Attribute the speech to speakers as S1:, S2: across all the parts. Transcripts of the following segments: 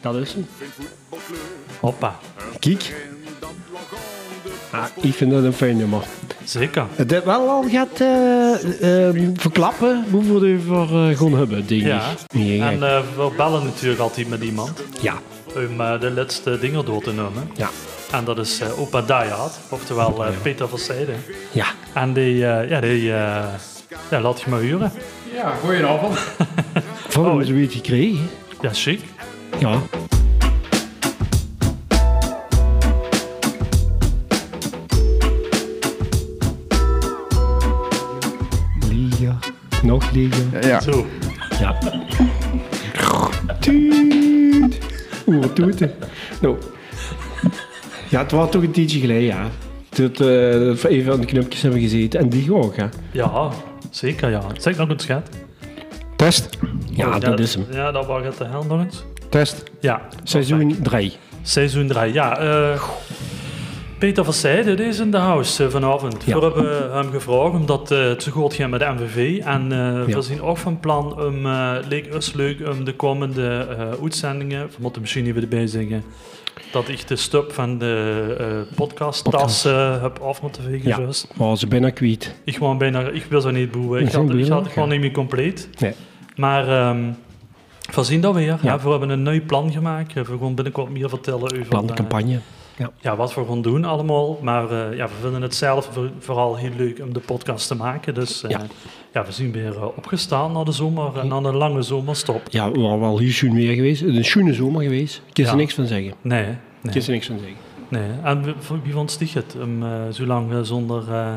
S1: Dat is hem.
S2: Hoppa.
S1: Kijk. Ah, ik vind dat een fijn nummer.
S2: Zeker.
S1: Het heeft wel al gaat eh, eh, verklappen hoeveel we voor eh gaan hebben, denk ik.
S2: Ja.
S1: Ja,
S2: En eh, we bellen natuurlijk altijd met iemand
S1: ja.
S2: om eh, de laatste dingen door te nemen.
S1: ja.
S2: En dat is eh, opa Dayard, oftewel eh, Peter van Zijden.
S1: ja.
S2: En die, eh, ja, die eh, ja, laat je maar huren.
S3: Ja, goedenavond.
S1: Van hem zoiets gekregen.
S2: Ja, chic.
S1: Ja. Liga. Nog Liga.
S3: Ja,
S2: Zo.
S1: Ja. Tuut. Oeh, wat doet het? Nou. Ja, het was toch een tijdje geleden, ja. Dat eh, dat we even aan de knopjes hebben gezeten. En die ook, hè.
S2: Ja, zeker ja. Zeg nog eens, schat.
S3: Test,
S1: Ja, Oh, dat is hem.
S2: Ja, dat was het de hel nog eens.
S3: test.
S2: Ja,
S1: Seizoen 3.
S2: seizoen 3. Ja, eh, Peter van Zijden die is in de house eh, vanavond.
S1: Ja.
S2: We hebben hem gevraagd omdat eh, het zo goed ging met de MVV. En eh,
S1: Ja.
S2: we zijn ook van plan om, eh, leek ons leuk om de komende eh, uitzendingen, we moeten misschien even erbij zeggen, dat ik de stub van de eh podcasttas eh, heb af moeten vegen.
S1: Ja.
S2: zoals.
S1: Oh, ze bijna kwijt.
S2: Ik, wou bijna, ik wil zo niet boeien. Ik
S1: Nee,
S2: had, ik
S1: boeien.
S2: had het gewoon niet meer compleet.
S1: Nee.
S2: Maar ehm we zien dat weer. Ja.
S1: Ja.
S2: we hebben een nieuw plan gemaakt. We gaan binnenkort meer vertellen over
S1: Plan,
S2: eh,
S1: campagne.
S2: ja, wat we gaan doen allemaal. Maar eh, ja, we vinden het zelf voor- vooral heel leuk om de podcast te maken. Dus eh,
S1: Ja.
S2: ja. we zien weer eh, opgestaan na de zomer en na de lange zomerstop.
S1: Ja, we waren wel heel schoen weer geweest. Een schoene zomer geweest. Ik kan
S2: Ja.
S1: er niks van zeggen.
S2: Nee,
S1: Ik
S2: nee,
S1: kan er niks van zeggen.
S2: nee. En wie- voor wie vond Stig het? Om eh, zo lang eh, zonder... eh,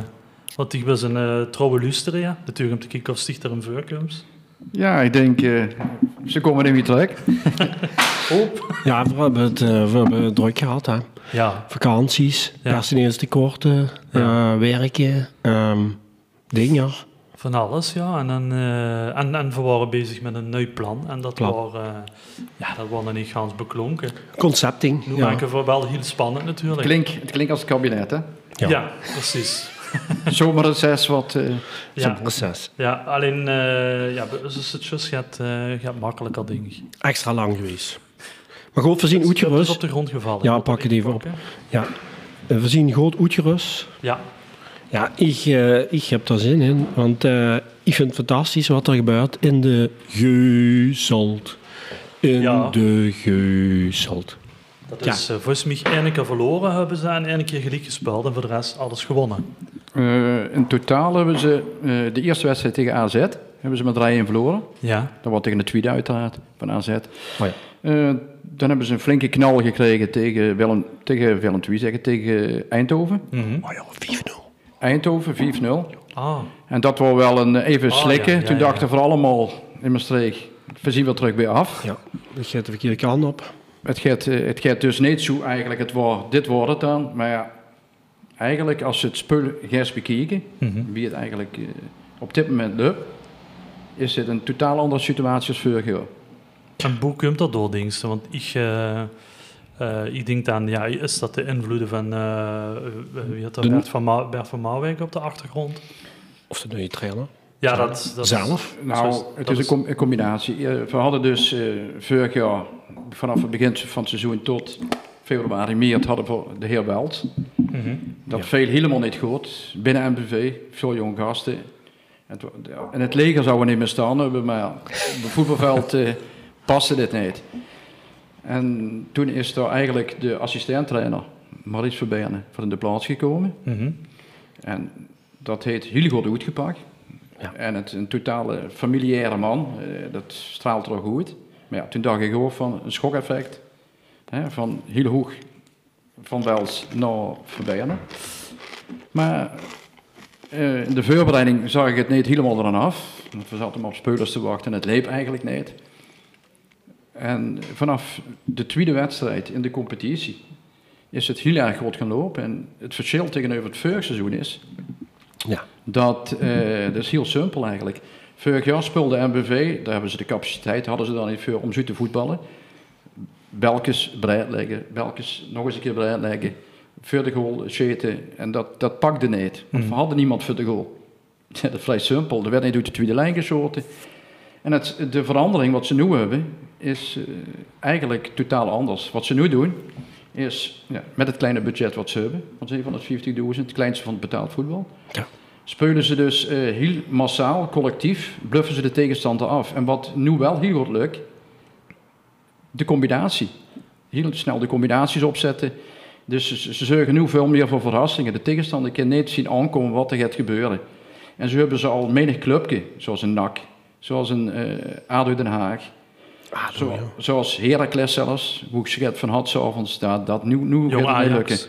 S2: want ik was een eh, trouwe luisteren, ja. Natuurlijk om te kijken of Stig er een voorkomt.
S3: Ja, ik denk, eh, ze komen er weer terug.
S1: Ja, we hebben het, eh, we hebben het druk gehad, hè.
S2: Ja,
S1: Vakanties,
S2: Ja.
S1: personeelstekorten,
S2: Ja.
S1: eh, werken, ehm, dingen.
S2: Van alles, ja. En, dan, eh, en, en we waren bezig met een nieuw plan. En dat
S1: Plan.
S2: waren eh, ja, dat waren niet gans beklonken.
S1: Concepting.
S2: Nu
S1: ja.
S2: maken we wel heel spannend natuurlijk.
S3: Klink, het klinkt als het kabinet, hè?
S2: ja.
S1: Ja.
S2: precies.
S3: Zomerreces, wat... eh,
S2: Ja,
S1: proces.
S2: ja alleen eh ja, bij ons is het just gaat, eh, gaat makkelijker, denk ik.
S1: Extra lang geweest. Maar goed, we zien
S2: Het is
S1: Oetjerus.
S2: op de grond gevallen.
S1: Ja,
S2: Ik wil
S1: pak
S2: dat
S1: het even op.
S2: pakken.
S1: Ja. Eh, We zien goed Oetjerus.
S2: Ja,
S1: Ja, ik, eh, ik heb daar zin in. Want eh, ik vind het fantastisch wat er gebeurt in de geuzeld. In
S2: Ja.
S1: de geuzeld.
S2: dat
S1: Ja.
S2: is eh, volgens mij één keer verloren hebben ze en één keer gelijk gespeeld. En voor de rest alles gewonnen.
S3: eh, in totaal hebben ze eh, de eerste wedstrijd tegen AZ, hebben ze met 3-1 verloren.
S2: Ja,
S3: Dat was tegen de tweede uiteraard, van AZ.
S1: Oh ja.
S3: Eh, dan hebben ze een flinke knal gekregen tegen Willem, tegen Willem II, zeggen, tegen Eindhoven.
S1: Oh ja, 5-0.
S3: Eindhoven, 4-0.
S2: ah,
S3: En dat was wel een even
S2: Oh,
S3: slikken.
S2: ja, ja,
S3: Toen
S2: ja.
S3: dachten we allemaal in Maastricht, we zien wel terug bij af.
S1: Ja, dat gaat de verkeerde kant op.
S3: Het gaat, eh, het gaat dus niet zo eigenlijk, het woord, dit wordt het dan. Maar ja, eigenlijk als je het spul gaat bekijken,
S1: Mhm.
S3: wie het eigenlijk eh, op dit moment doet, is het een totaal andere situatie als vorig jaar.
S2: En hoe komt dat door, denk je? Want ik, eh, eh, ik denk dan, ja, is dat de invloeden van, eh, eh, wie had dat,
S1: De-
S2: Bert van, Ma Bert van Marwijk op de achtergrond?
S1: Of de nieuwe trainer.
S2: Ja, dat, dat
S1: Zelf?
S3: Nou,
S2: Zo is-
S3: het
S2: dat
S3: is een,
S2: is-
S3: com- een combinatie. Eh, We hadden dus eh, vorig jaar, vanaf het begin van het seizoen tot februari, maart, hadden we de heer Welt.
S2: Mhm.
S3: Dat veel helemaal niet goed. Binnen MBV, veel jonge gasten. Het, wa- ja, in het leger zouden we niet meer staan hebben, maar op het voetbalveld eh, paste dit niet. En toen is daar eigenlijk de assistenttrainer, Maries Verberne, van de plaats gekomen.
S2: Mhm.
S3: En dat heet heel goed uitgepakt.
S1: Ja.
S3: En het is een totale familiaire man, eh, dat straalt er ook goed. Maar ja, toen dacht ik ook van een schokeffect, hè, van heel hoog van Wels naar Verberne. Maar eh, in de voorbereiding zag ik het niet helemaal eraan af. Want we zaten maar op spelers te wachten en het leep eigenlijk niet. En vanaf de tweede wedstrijd in de competitie is het heel erg goed gaan lopen. En het verschil tegenover het vorig seizoen is
S1: Ja.
S3: dat, eh, dat is heel simpel eigenlijk. Vorig jaar speelde MBV, daar hebben ze de capaciteit, hadden ze dan niet voor om zo te voetballen. Belkes breed leggen, Belkes nog eens een keer breed leggen, voor de goal schieten. En dat, dat pakte niet, want we hadden niemand voor de goal. dat is vrij simpel, er werd niet uit de tweede lijn geschoten. En het, de verandering wat ze nu hebben, is eh, eigenlijk totaal anders. Wat ze nu doen, is ja, met het kleine budget wat ze hebben, van 750.000, het kleinste van het betaald voetbal,
S1: Ja.
S3: spelen ze dus eh, heel massaal, collectief, bluffen ze de tegenstander af. En wat nu wel heel goed lukt, de combinatie. Heel snel de combinaties opzetten. Dus ze, ze zorgen nu veel meer voor verrassingen. De tegenstander kan niet zien aankomen wat er gaat gebeuren. En zo hebben ze al menig clubje, zoals een NAC, zoals een eh, ADO Den Haag,
S2: Ah,
S3: zo- zoals Heracles zelfs, hoe ik schet van had s'avonds, dat, dat nu, nu gaat
S2: Jong
S3: het niet lukken.
S2: Ajax.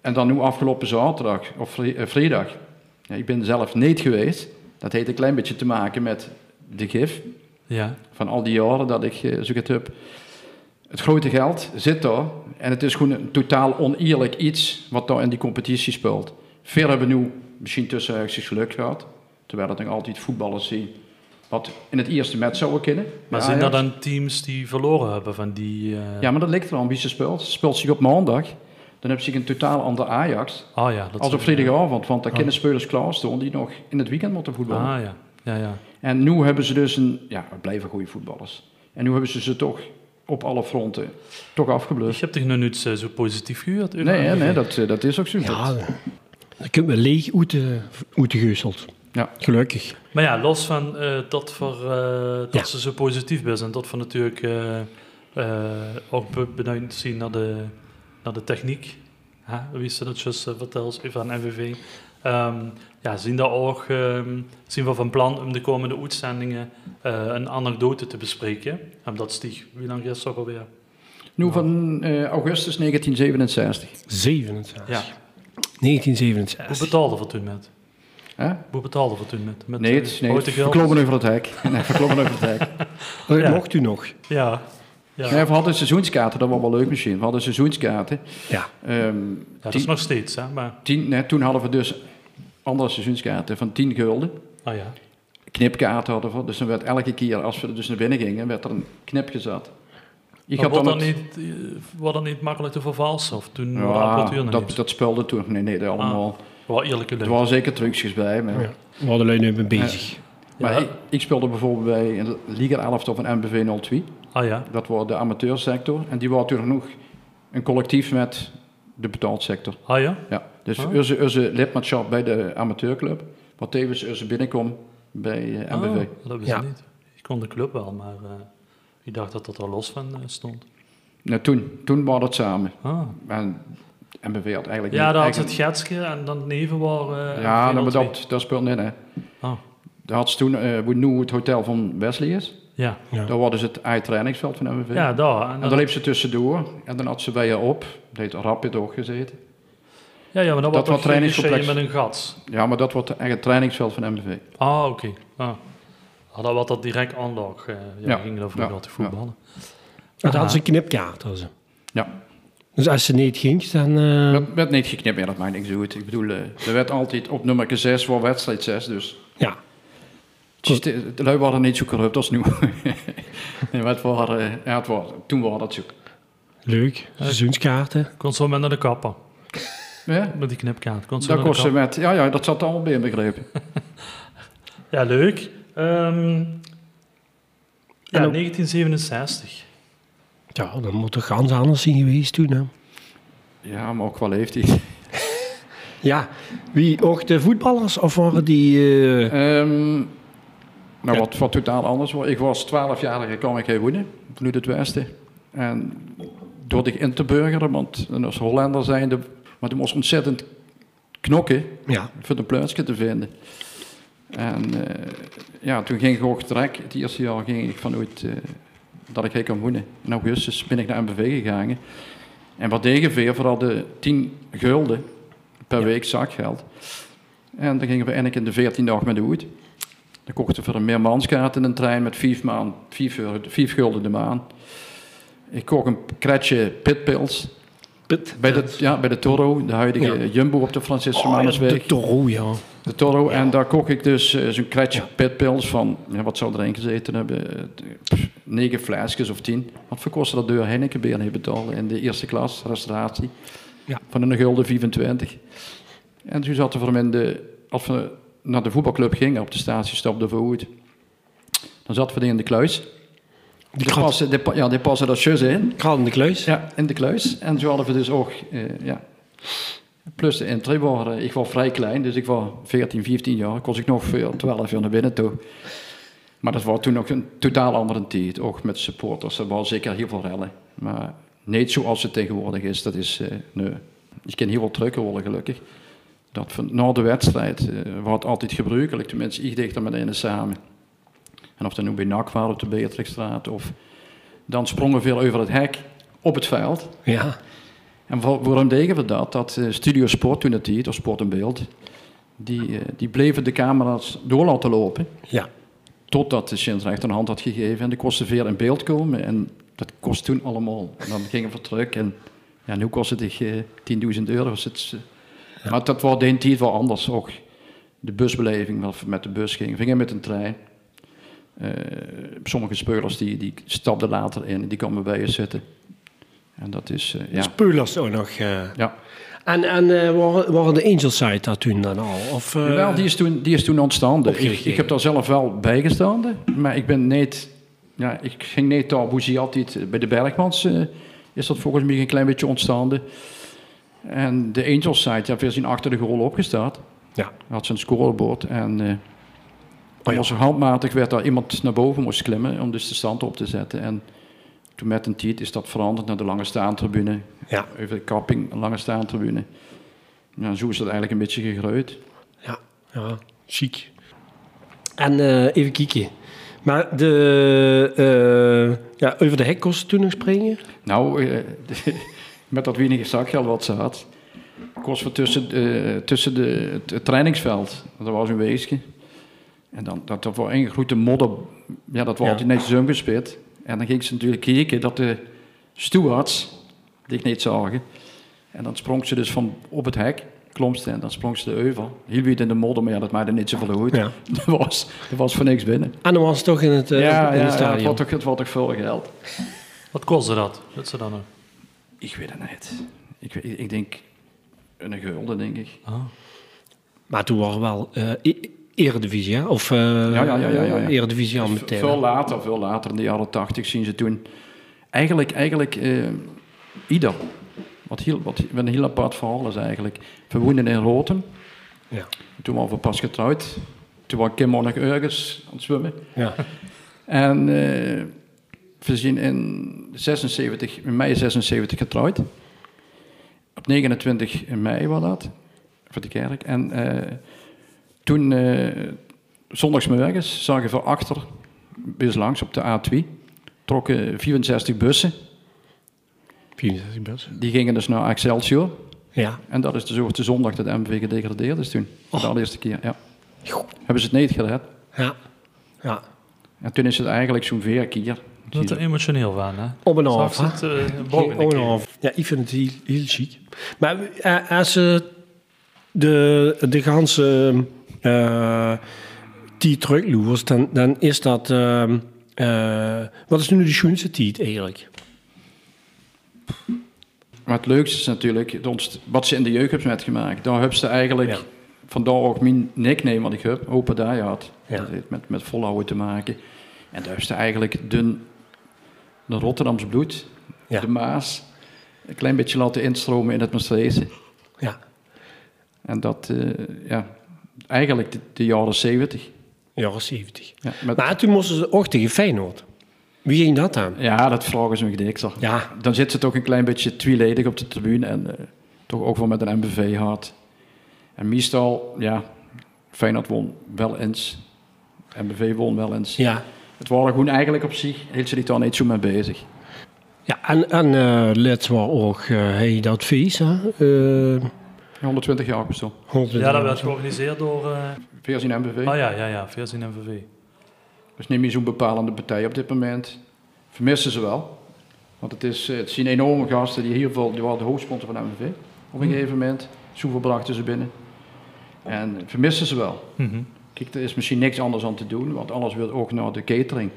S3: En dan nu afgelopen zaterdag of vri- eh, vrijdag. Ja, ik ben zelf niet geweest. Dat heeft een klein beetje te maken met de gif
S2: Ja.
S3: van al die jaren dat ik eh, zoek het heb. Het grote geld zit daar en het is gewoon een totaal oneerlijk iets wat daar in die competitie speelt. Veel hebben nu misschien tussen haakjes geluk gehad, terwijl het nog altijd voetballers zien wat in het eerste match zouden kunnen.
S2: Maar
S3: bij
S2: zijn dat
S3: Ajax.
S2: dan teams die verloren hebben van die eh
S3: Ja, maar dat ligt er aan wie ze speelt. Ze speelt zich op maandag, dan heb ze een totaal ander Ajax
S2: Ah ja, dat
S3: als op vrijdagavond, want dan kunnen spelers klaarstaan die nog in het weekend moeten voetballen.
S2: Ah ja. Ja, ja.
S3: En nu hebben ze dus een, ja, het blijven goede voetballers. En nu hebben ze ze toch op alle fronten toch afgeblust.
S2: Ik heb toch nog niet eh, zo positief gehoord?
S3: Dus- Nee, hè, nee dat, eh, dat is ook zo.
S1: Ja,
S2: nou.
S3: Dat-
S1: dan kunnen we leeg oeten, oeten geuzeld.
S3: Ja.
S1: Gelukkig.
S2: Maar ja, los van eh, dat, voor, eh, dat
S1: Ja.
S2: ze zo positief is en dat we natuurlijk eh, eh, ook be- benieuwd zien naar de, naar de techniek. Hè? Wie is dat juist eh, vertelt, even aan NVV. Ehm, ja, zien, dat ook, ehm, zien we van plan om de komende uitzendingen eh, een anekdote te bespreken. En dat stieg, wie lang is toch alweer?
S3: Nu van eh, augustus 1967.
S1: 27.
S2: Ja.
S1: 1967.
S2: Hoe betaalden we toen met?
S3: Hè?
S2: Hoe betaalden we toen met? met
S3: Nee,
S2: eh,
S3: het is- nee,
S2: grote geld?
S3: verklommen over het hek. Nee, verklommen over het hek.
S1: Dat
S2: Ja.
S1: Eh, mocht u nog.
S2: Ja. Ja.
S3: Nee, we hadden seizoenskaarten, dat was wel leuk misschien. We hadden seizoenskaarten.
S1: Ja.
S3: Ehm,
S2: Ja, dat is
S3: tien,
S2: nog steeds, hè? Maar,
S3: tien, nee, toen hadden we dus andere seizoenskaarten van 10 gulden.
S2: ah ja.
S3: Knipkaarten hadden we. Dus dan werd elke keer, als we er dus naar binnen gingen, werd er een knip gezet. Je
S2: Maar
S3: gaat
S2: wordt
S3: dan
S2: dat, niet,
S3: het-
S2: eh, wordt dat niet makkelijk te vervalsen? Of toen ja, de apparatuur
S3: Ja,
S2: nog
S3: dat,
S2: niet?
S3: dat speelde toen. Nee, nee, dat allemaal.
S2: Wel eerlijke
S3: Er
S2: leuk.
S3: waren zeker trucjes bij. Maar,
S1: Ja. We hadden lui nu mee bezig.
S3: maar
S2: Ja.
S3: ik, ik speelde bijvoorbeeld bij een Liga 11 of een MBV 02.
S2: Ah ja,
S3: Dat was de amateursector. En die waren toen nog een collectief met de betaaldsector.
S2: ah ja.
S3: Ja. Dus
S2: Ah.
S3: onze, onze lidmaatschap bij de amateurclub. Wat tevens onze binnenkom bij eh, MBV.
S2: Ah, dat wist
S1: Ja.
S2: ik niet. Ik kon de club wel, maar eh, ik dacht dat dat er los van eh, stond.
S3: Nou, toen, toen waren dat samen.
S2: Ah.
S3: En MBV had eigenlijk
S2: Ja,
S3: niet-
S2: daar had ze het
S3: eigenlijk-
S2: Getske en dan neven waren... eh,
S3: Ja, nou, maar
S2: 402.
S3: dat, dat speelt niet. Hè.
S2: Ah,
S3: Daar had ze toen, eh, hoe nu het hotel van Wesley is.
S2: ja.
S3: Daar was dus het ei-trainingsveld van MVV.
S2: ja, daar. En
S3: En
S2: dan-
S3: dan liep ze tussendoor en dan had ze bij je op. Deed rapid ook gezeten.
S2: ja, ja, maar dat,
S3: dat
S2: was
S3: was trainingscomplex.
S2: trainingscomplex. met een gat.
S3: Ja, maar dat wordt echt het trainingsveld van MBV.
S2: Ah, oké. Ah. Ah, dat was dat direct aanlag. eh ja,
S3: Ja.
S2: ging dat vroeger
S3: Ja.
S2: te voetballen.
S1: Dat hadden
S2: Ah.
S1: ze een knipkaart. hadden ze.
S3: Ja.
S1: Dus als ze niet ging, dan... eh,
S3: Dat werd niet geknipt, ja, dat maakt niks uit. Ik bedoel, eh, er werd altijd op nummer 6 voor wedstrijd 6, dus...
S1: ja.
S3: het is- De de lui waren niet zo corrupt als nu. nee, maar het waren, eh, ja, het waren, toen waren dat zo.
S1: Leuk. Seizoenskaarten.
S2: Kon zo met naar de kapper.
S3: Ja,
S2: Met die knipkaart. Kon zo
S3: dat
S2: met de
S3: kost ze
S2: kapper.
S3: met... Ja, ja, dat zat er allemaal bij inbegrepen.
S2: Ja, leuk. Ehm, ja,
S1: En ook-
S2: 1967.
S1: Ja, dan moet er gans anders zijn geweest toen. Hè.
S3: Ja, maar ook wel heeft hij.
S1: Ja. Wie, ook de voetballers? Of waren die... eh,
S3: Ehm nou, wat, wat totaal anders was. Ik was 12 jaar, kwam ik hier wonen, vanuit het Westen. En door ik in te burgeren, want en als Hollander zijnde, maar toen moest ontzettend knokken
S1: ja.
S3: voor een plaatsje te vinden. En eh, ja, toen ging ik ook direct, het eerste jaar ging ik vanuit eh, dat ik hier kon wonen. In augustus ben ik naar MBV gegaan. En wat deed ik weer? Vooral de 10 gulden per week zakgeld. En dan gingen we eindelijk in de 14 dag met de hoed. Dan kochten we voor een meermanskaart in een trein met 5 maan, vijf euro- vijf gulden de maan. Ik kocht een kretje pitpils
S1: Pit.
S3: bij de, ja, bij de Toro, de huidige
S1: Ja.
S3: Jumbo op de Francisco
S1: Oh, ja,
S3: Manesweg.
S1: de Toro, ja.
S3: De Toro, en daar kook ik dus eh, zo'n kretje pitpils van, ja, wat zou erin gezeten hebben? Eh, pff, Negen flesjes of tien. Wat voor kostte dat deur Heinekenbeer niet betalen in de eerste klas, restauratie?
S1: Ja.
S3: Van een gulden 25. En toen zaten we hem in de, als we naar de voetbalclub gingen op de statie, stap de voet. Dan zaten we die in de kluis.
S1: Die
S3: Die
S1: krat.
S3: passen, die, pa- ja, die passen dat zus in.
S1: Kraal in de kluis.
S3: Ja, in de kluis. En zo hadden we dus ook, eh, ja. Plus de entry waren, ik was vrij klein, dus ik was 14, 15 jaar. Ik was ik nog veel, 12 jaar naar binnen toe. Maar dat was toen ook een totaal andere tijd, ook met supporters. Er waren zeker heel veel rellen. Maar niet zoals het tegenwoordig is, dat is, eh nee. Je kan heel veel drukker worden, gelukkig. Dat van, na de wedstrijd eh wordt altijd gebruikelijk. Tenminste, ik deed er met een samen. En of dat nu bij NAC waren op de Beatrixstraat of... Dan sprongen veel over het hek op het veld.
S1: Ja.
S3: En wa- waarom deden we dat? Dat eh, Studio Sport toen het deed, of Sport en Beeld, die, eh, die bleven de camera's door laten lopen.
S1: Ja.
S3: Totdat de scheidsrechter een hand had gegeven en de kosten weer in beeld komen. En dat kost toen allemaal. En dan gingen we terug en ja, nu kost het eh, 10.000 euro. Dus het, eh, Maar dat was de tijd wel anders ook. De busbeleving, of met de bus gingen, we gingen met een trein. Eh, sommige spelers die, die stapten later in en die kwamen bij je zitten. En dat is, eh, ja.
S1: Spulers Dus ook nog. eh.
S3: Ja.
S1: En, en eh, waren, waren de Angel Side daar toen dan al? Of, eh,
S3: Jawel, die is toen, die is toen ontstaan. Dus Ik,
S1: Opgericht.
S3: ik heb daar zelf wel bij gestaan, maar ik ben niet... Ja, ik ging niet daar, hoe zie je altijd, bij de Bergmans eh, is dat volgens mij een klein beetje ontstaan. En de Angels site, ja, we zien achter de goal opgestaan.
S1: Ja. Oh
S3: Had zijn scorebord en... eh
S1: ja.
S3: was er handmatig werd daar iemand naar boven moest klimmen om dus de stand op te zetten. En toen met een tijd is dat veranderd naar de lange staantribune.
S1: Ja.
S3: Even de kapping, lange staantribune. Ja, zo is dat eigenlijk een beetje gegroeid.
S1: Ja, ja, chic. En eh, even kijken. Maar de, eh, ja, over de hek kost toen nog springen?
S3: Nou, eh, met dat weinige zakgeld wat ze had, kost we tussen, eh, tussen de, het, het trainingsveld, dat was een weesje. En dan, dat, dat was een grote modder, ja, dat was
S1: Ja.
S3: altijd netjes omgespit. En dan ging ze natuurlijk kijken dat de stewards dit niet zagen. En dan sprong ze dus van op het hek, klom ze en dan sprong ze de euvel. Heel weer in de modder, maar ja, dat maakte niet zoveel uit.
S1: Ja.
S3: Er, was, er was voor niks binnen.
S1: En dan was het toch in het, eh, in het
S3: het was
S1: stadion.
S3: toch- het was toch veel geld.
S2: Wat kostte dat? Dat ze dan nog.
S3: Ik weet het niet. Ik, weet- ik denk een gulden, denk ik.
S2: Ah.
S1: Maar toen waren we wel eh, e- eredivisie, hè? Of eh ja,
S3: ja, ja, ja, ja.
S1: eredivisie al meteen.
S3: Dus Veel
S1: hè?
S3: later, veel later, in de jaren tachtig, zien ze toen eigenlijk, eigenlijk eh, ieder. Wat, heel, wat, wat een heel apart verhaal is eigenlijk. We woonden in Rotem.
S1: Ja.
S3: Toen waren we pas getrouwd. Toen was Kim ook nog ergens aan het zwemmen.
S1: Ja.
S3: En eh, we zijn in, 76, in mei 76 getrouwd. Op 29 mei was dat, voor de kerk. En eh, toen, eh zondagsmiddags, zagen we achter, bus langs op de A2, trokken 64 bussen.
S1: 64 best.
S3: Die gingen dus naar Excelsior.
S1: Ja.
S3: En dat is dus ook de zondag dat de MV gedegradeerd is toen. Voor de allereerste keer, ja.
S1: Joh.
S3: Hebben ze het niet gered.
S1: Ja. ja.
S3: En toen is het eigenlijk zo'n vier keer.
S2: Dat is emotioneel van, hè?
S1: Op en af,
S2: Straks
S1: hè?
S2: het, eh,
S1: Geen
S2: boven
S1: on-
S2: een keer.
S1: of- Ja, ik vind het heel, heel chic. Maar eh, als ze de, de ganse eh tijd terugloert, dan, dan is dat... ehm, eh, wat is nu de schoonste tijd eigenlijk?
S3: Maar het leukste is natuurlijk de ontst- wat ze in de jeugd hebben metgemaakt. Daar hebben ze eigenlijk
S1: Ja.
S3: vandaar ook mijn nickname wat ik heb, open daar had.
S1: Ja.
S3: Dat heeft met, met volhouden te maken. En daar hebben ze eigenlijk de, de Rotterdamse bloed,
S1: Ja.
S3: de Maas, een klein beetje laten instromen in het Maastrichtse.
S1: Ja.
S3: En dat, eh, ja, eigenlijk de, de jaren zeventig.
S1: Jaren 70.
S3: Ja, met-
S1: Maar toen moesten ze ook tegen Feyenoord. Wie ging dat aan?
S3: ja, dat vragen ze me gedikter.
S1: Ja,
S3: Dan zit ze toch een klein beetje tweeledig op de tribune en eh, toch ook wel met een MBV-hart. En meestal, ja, Feyenoord won wel eens. MBV won wel eens.
S1: ja.
S3: Het waren gewoon eigenlijk op zich, hield ze die dan niet zo mee bezig.
S1: ja en, en eh let's wel ook eh, hey, dat feest, hè? Eh,
S3: 120 jaar bestaan.
S2: Ja, dat werd georganiseerd door... eh
S3: Veerzien MBV.
S2: ah ja, ja, ja, Veerzien MVV.
S3: Dus niet meer zo'n bepalende partij op dit moment. Vermissen ze wel. Want het, is, eh, het zijn enorme gasten die heel veel, die waren de hoofdsponsor van MVV. Op een gegeven moment, zoveel brachten ze binnen. En vermissen ze wel.
S2: Mhm.
S3: Kijk, er is misschien niks anders aan te doen, want alles wordt ook naar de catering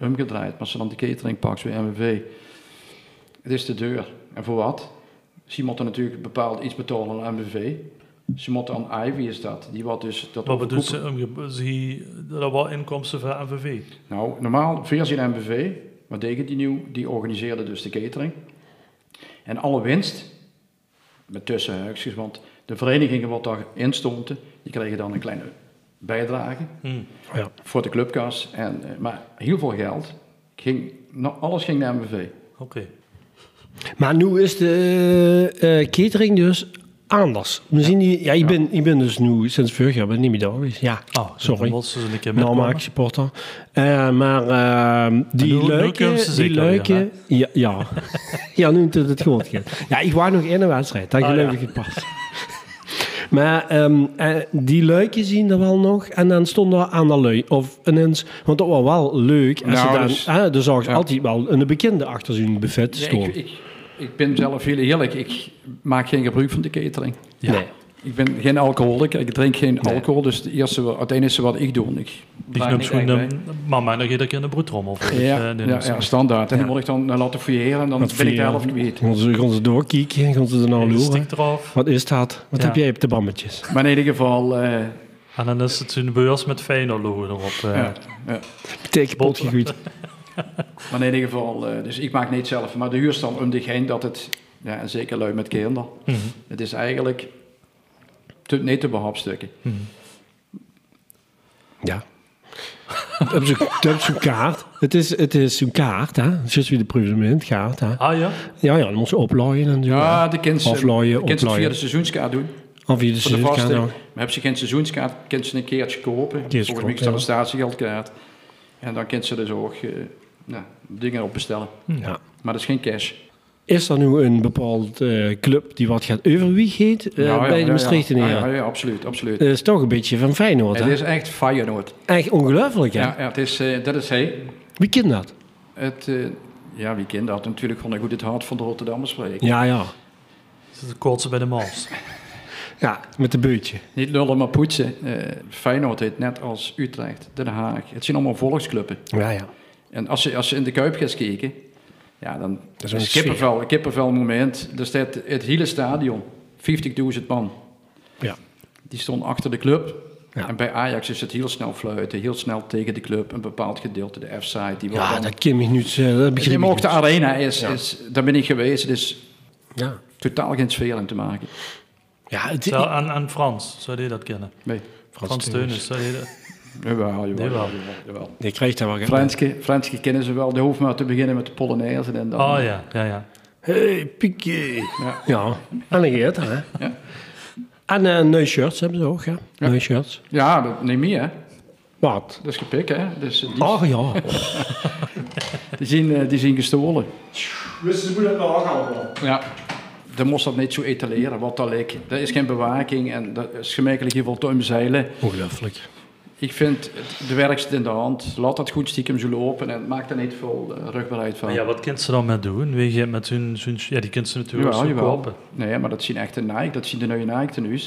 S3: omgedraaid. Maar ze dan de catering pakt bij MWV, het is de deur. En voor wat? Ze moeten natuurlijk bepaald iets betalen aan MWV. Ze moeten aan Ivy is dat. Die wat dus dat
S2: Wat eh, bedoelt ze?
S3: overkoepel-
S2: omge- ze- Dat waren inkomsten van MVV.
S3: Nou, normaal, veerzien MWV, Wat deden die nieuw? Die organiseerde dus de catering. En alle winst, met tussenhuisjes, want de verenigingen wat daarin stonden, die kregen dan een kleine bijdrage
S2: Hmm.
S1: Ja.
S3: voor de clubkas. En, eh, maar heel veel geld. Ging, nou, alles ging naar MVV.
S2: Oké.
S1: Maar nu is de eh, catering dus anders. We zien die, ja, ik, ben, ik ben dus nu sinds vorig jaar ben ik niet meer daar geweest. Ja,
S2: Oh,
S1: sorry.
S2: Dan was ze een keer met
S1: Nou, maar ik supporter. Eh, maar ehm, die
S2: nu- nu
S1: leuke,
S2: kunnen ze
S1: die
S2: zeker weer,
S1: leuke, ja, ja. ja, nu doet het goed. Ja, ik wou nog in een wedstrijd, dan
S2: Ah,
S1: geloof
S2: ja.
S1: ik het pas. Maar ehm, eh, die leuke zien er wel nog. En dan stond er aan de lui. Of ineens, want dat was wel leuk. Als
S3: Nou,
S1: ze dan,
S3: dus-
S1: eh, er zag ze
S3: ja.
S1: altijd wel een bekende achter zijn buffet
S3: Ja,
S1: stonden.
S3: ik, ik, ik ben zelf heel eerlijk, ik maak geen gebruik van de catering.
S2: Ja.
S1: Nee.
S3: Ik ben geen alcoholiker, ik drink geen
S1: Nee.
S3: alcohol, dus het eerste, wat- het enige wat ik doe, ik
S2: Die
S3: draag
S2: knups
S3: niet bij.
S2: gewoon mama en dan geef ik in de broedrommel. voor. Dus,
S3: Ja,
S2: eh, nee,
S3: ja,
S2: dat is-
S3: ja, standaard. En
S1: Ja.
S3: dan word ik dan eh, laten fouilleren en
S1: Dat
S3: dan ben ik de
S1: fouilleren.
S3: helft kwijt.
S1: Gaan ze, gaan ze doorkieken, gaan ze er nou
S2: Hele
S1: loeren.
S2: stik eraf.
S1: Wat is dat? Wat
S2: Ja.
S1: heb jij op de bammetjes?
S3: Maar in ieder geval, eh,
S2: En dan is het een beurs met Feyenoord logo erop. eh.
S3: ja.
S1: Tekenpot
S2: Bot.
S1: gegooid.
S3: maar in ieder geval, eh, dus ik maak niet zelf. Maar de huur staat om zich heen dat het, ja, en zeker lui met kinderen,
S2: Mhm.
S3: het is eigenlijk te, niet te behapstukken.
S2: Mhm.
S1: Ja. Op zo'n- op zo'n kaart. Het is, het is zo'n kaart, hè? Zoals wie de proevenement kaart, hè?
S2: Ah ja?
S1: Ja, ja, dan moet ze oplooien en zo.
S3: Ja, eh, de kinderen,
S1: Aflooien,
S3: de kinderen
S1: oplooien.
S3: via de seizoenskaart doen.
S1: Of je de
S3: Voor de
S1: seizoenskaart
S3: vaste.
S1: nou.
S3: Maar heb ze geen seizoenskaart, kan ze een keertje kopen.
S1: Keertje
S3: Volgens mij is
S1: kopen,
S3: dat een statiegeldkaart. En dan kan ze dus ook eh, nou, dingen op bestellen.
S1: Ja.
S3: Maar dat is geen cash.
S1: Eh, Is er nu een bepaald eh, club die wat gaat overwieg heet eh,
S3: Ja, ja,
S1: bij
S3: ja,
S1: de
S3: ja.
S1: Maastrichten?
S3: Ja,
S1: Ja,
S3: ja, ja, absoluut, absoluut.
S1: is toch een beetje van Feyenoord,
S3: het
S1: hè?
S3: is echt Feyenoord.
S1: Echt ongelooflijk, hè?
S3: Ja, ja, het is, eh, dat is hij.
S1: Wie kent dat?
S3: Het, eh, ja, wie kent dat? Natuurlijk gewoon goed het hart van de Rotterdammers spreken.
S1: Ja, ja.
S2: Is het de koortsen bij de mals?
S1: Ja, met de beutje.
S3: Niet lullen, maar poetsen. Eh, Feyenoord heet net als Utrecht, Den Haag. Het zijn allemaal volksclubben.
S1: Ja, ja.
S3: En als je, als je in de Kuip gaat kijken, ja, dan
S1: Dat is
S3: is
S1: een
S3: het kippenvel, kippenvel moment. Er staat het hele stadion, 50.000 man.
S1: Ja.
S3: Die stond achter de club.
S1: Ja.
S3: En bij Ajax is het heel snel fluiten, heel snel tegen de club, een bepaald gedeelte, de F-side. Die wordt
S1: Ja,
S3: dan-
S1: dat ken ik niet. eh, Dat
S3: Nee,
S1: begrijp
S3: maar
S1: ik
S3: ook de
S1: niet.
S3: arena is,
S1: Ja.
S3: is, daar ben ik geweest, het is
S1: Ja,
S3: totaal geen sfeer in te maken.
S1: ja het
S2: Zou- Aan, aan Frans, zou je dat kennen?
S3: Nee,
S2: Frans, Teunus, zou je dat...
S3: jawel, jawel.
S2: Jawel.
S3: jawel, jawel.
S1: Je krijgt daar wel
S3: Franske, Franske kennen ze wel, de hoeft maar te beginnen met de Polonaise en dan...
S2: Oh ja, ja, ja.
S1: Hey, Piqué.
S3: Ja.
S1: Ja, en een geert, hè?
S3: Ja.
S1: En eh nieuwe shirts hebben ze ook, hè?
S3: Ja.
S1: Nieuwe shirts.
S3: Ja, dat niet meer, hè.
S1: Wat?
S3: dat is gepik, hè. Dus, eh, die,
S1: Oh ja.
S3: die, zijn, eh, die zijn gestolen.
S4: Wisten ze hoe dat nou aangaan?
S3: Ja, dan moest dat niet zo etaleren, wat dat leek. Dat is geen bewaking en dat is gemakkelijk hier vol te omzeilen.
S1: Ongelooflijk.
S3: Ik vind het- de werkst in de hand. Laat dat goed stiekem zo lopen en maak er niet veel eh, rugbaarheid van.
S2: Maar ja, wat kunt ze dan met doen? Weet je, met hun, hun- ja, die kunt ze natuurlijk
S3: Jawel,
S2: zo
S3: jawel.
S2: kopen.
S3: Nee, maar dat zien echt de Nike, dat zien de nieuwe Nike tenues.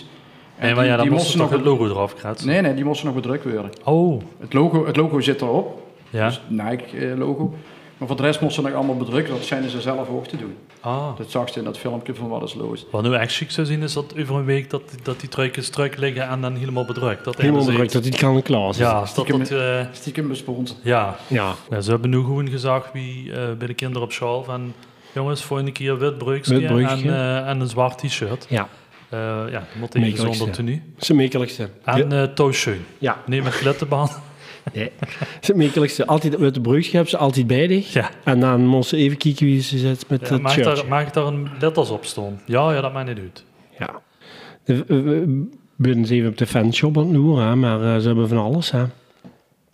S3: En
S2: Nee, maar ja, dan
S3: die
S2: moest ze
S3: moesten
S2: toch het
S3: nog
S2: logo eraf kratsen.
S3: Nee, nee, die moesten nog bedrukt worden.
S2: Oh,
S3: Het logo, het logo zit erop,
S2: ja.
S3: dus het Nike-logo. Maar voor de rest moesten ze nog allemaal bedrukken, dat zijn ze zelf ook te doen.
S2: Ah.
S3: Dat zag ze in dat filmpje van Wat is Loos.
S2: Wat nu echt chic zou zien, is dat over een week dat, dat die truikjes truik liggen en dan helemaal bedrukt. Dat
S1: Helemaal
S2: hebben ze
S1: druk dat hij kan en klaar
S2: iets-
S1: zit.
S2: Ja, dat, dat, eh,
S3: Stiekem besponsord.
S2: ja.
S1: Ja.
S2: Ja, ze hebben nu gewoon gezag wie eh, bij de kinderen op school van... Jongens, volgende keer wit broekje
S1: Wit
S2: en,
S1: broekje.
S2: eh, en een zwart t-shirt.
S1: Ja.
S2: Eh, ja, moet even
S1: Makkelijkste.
S2: zonder tenue.
S1: Zijn mekelijkste.
S2: En eh touwschoen.
S1: Ja.
S2: Nee, met glitterbaan.
S1: Nee. Zijn mekelijkste. Altijd met de brugje hebben ze altijd bij zich.
S2: Ja.
S1: En dan moest ze even kijken wie ze zet met
S2: Ja,
S1: het
S2: mag,
S1: shirt.
S2: daar, mag daar een letters op staan? Ja, ja, dat maakt niet uit.
S1: Ja. De- we- we- Ik ben eens even op de fanshop aan het loeren, hè, maar eh, ze hebben van alles. Hè.
S2: Ja,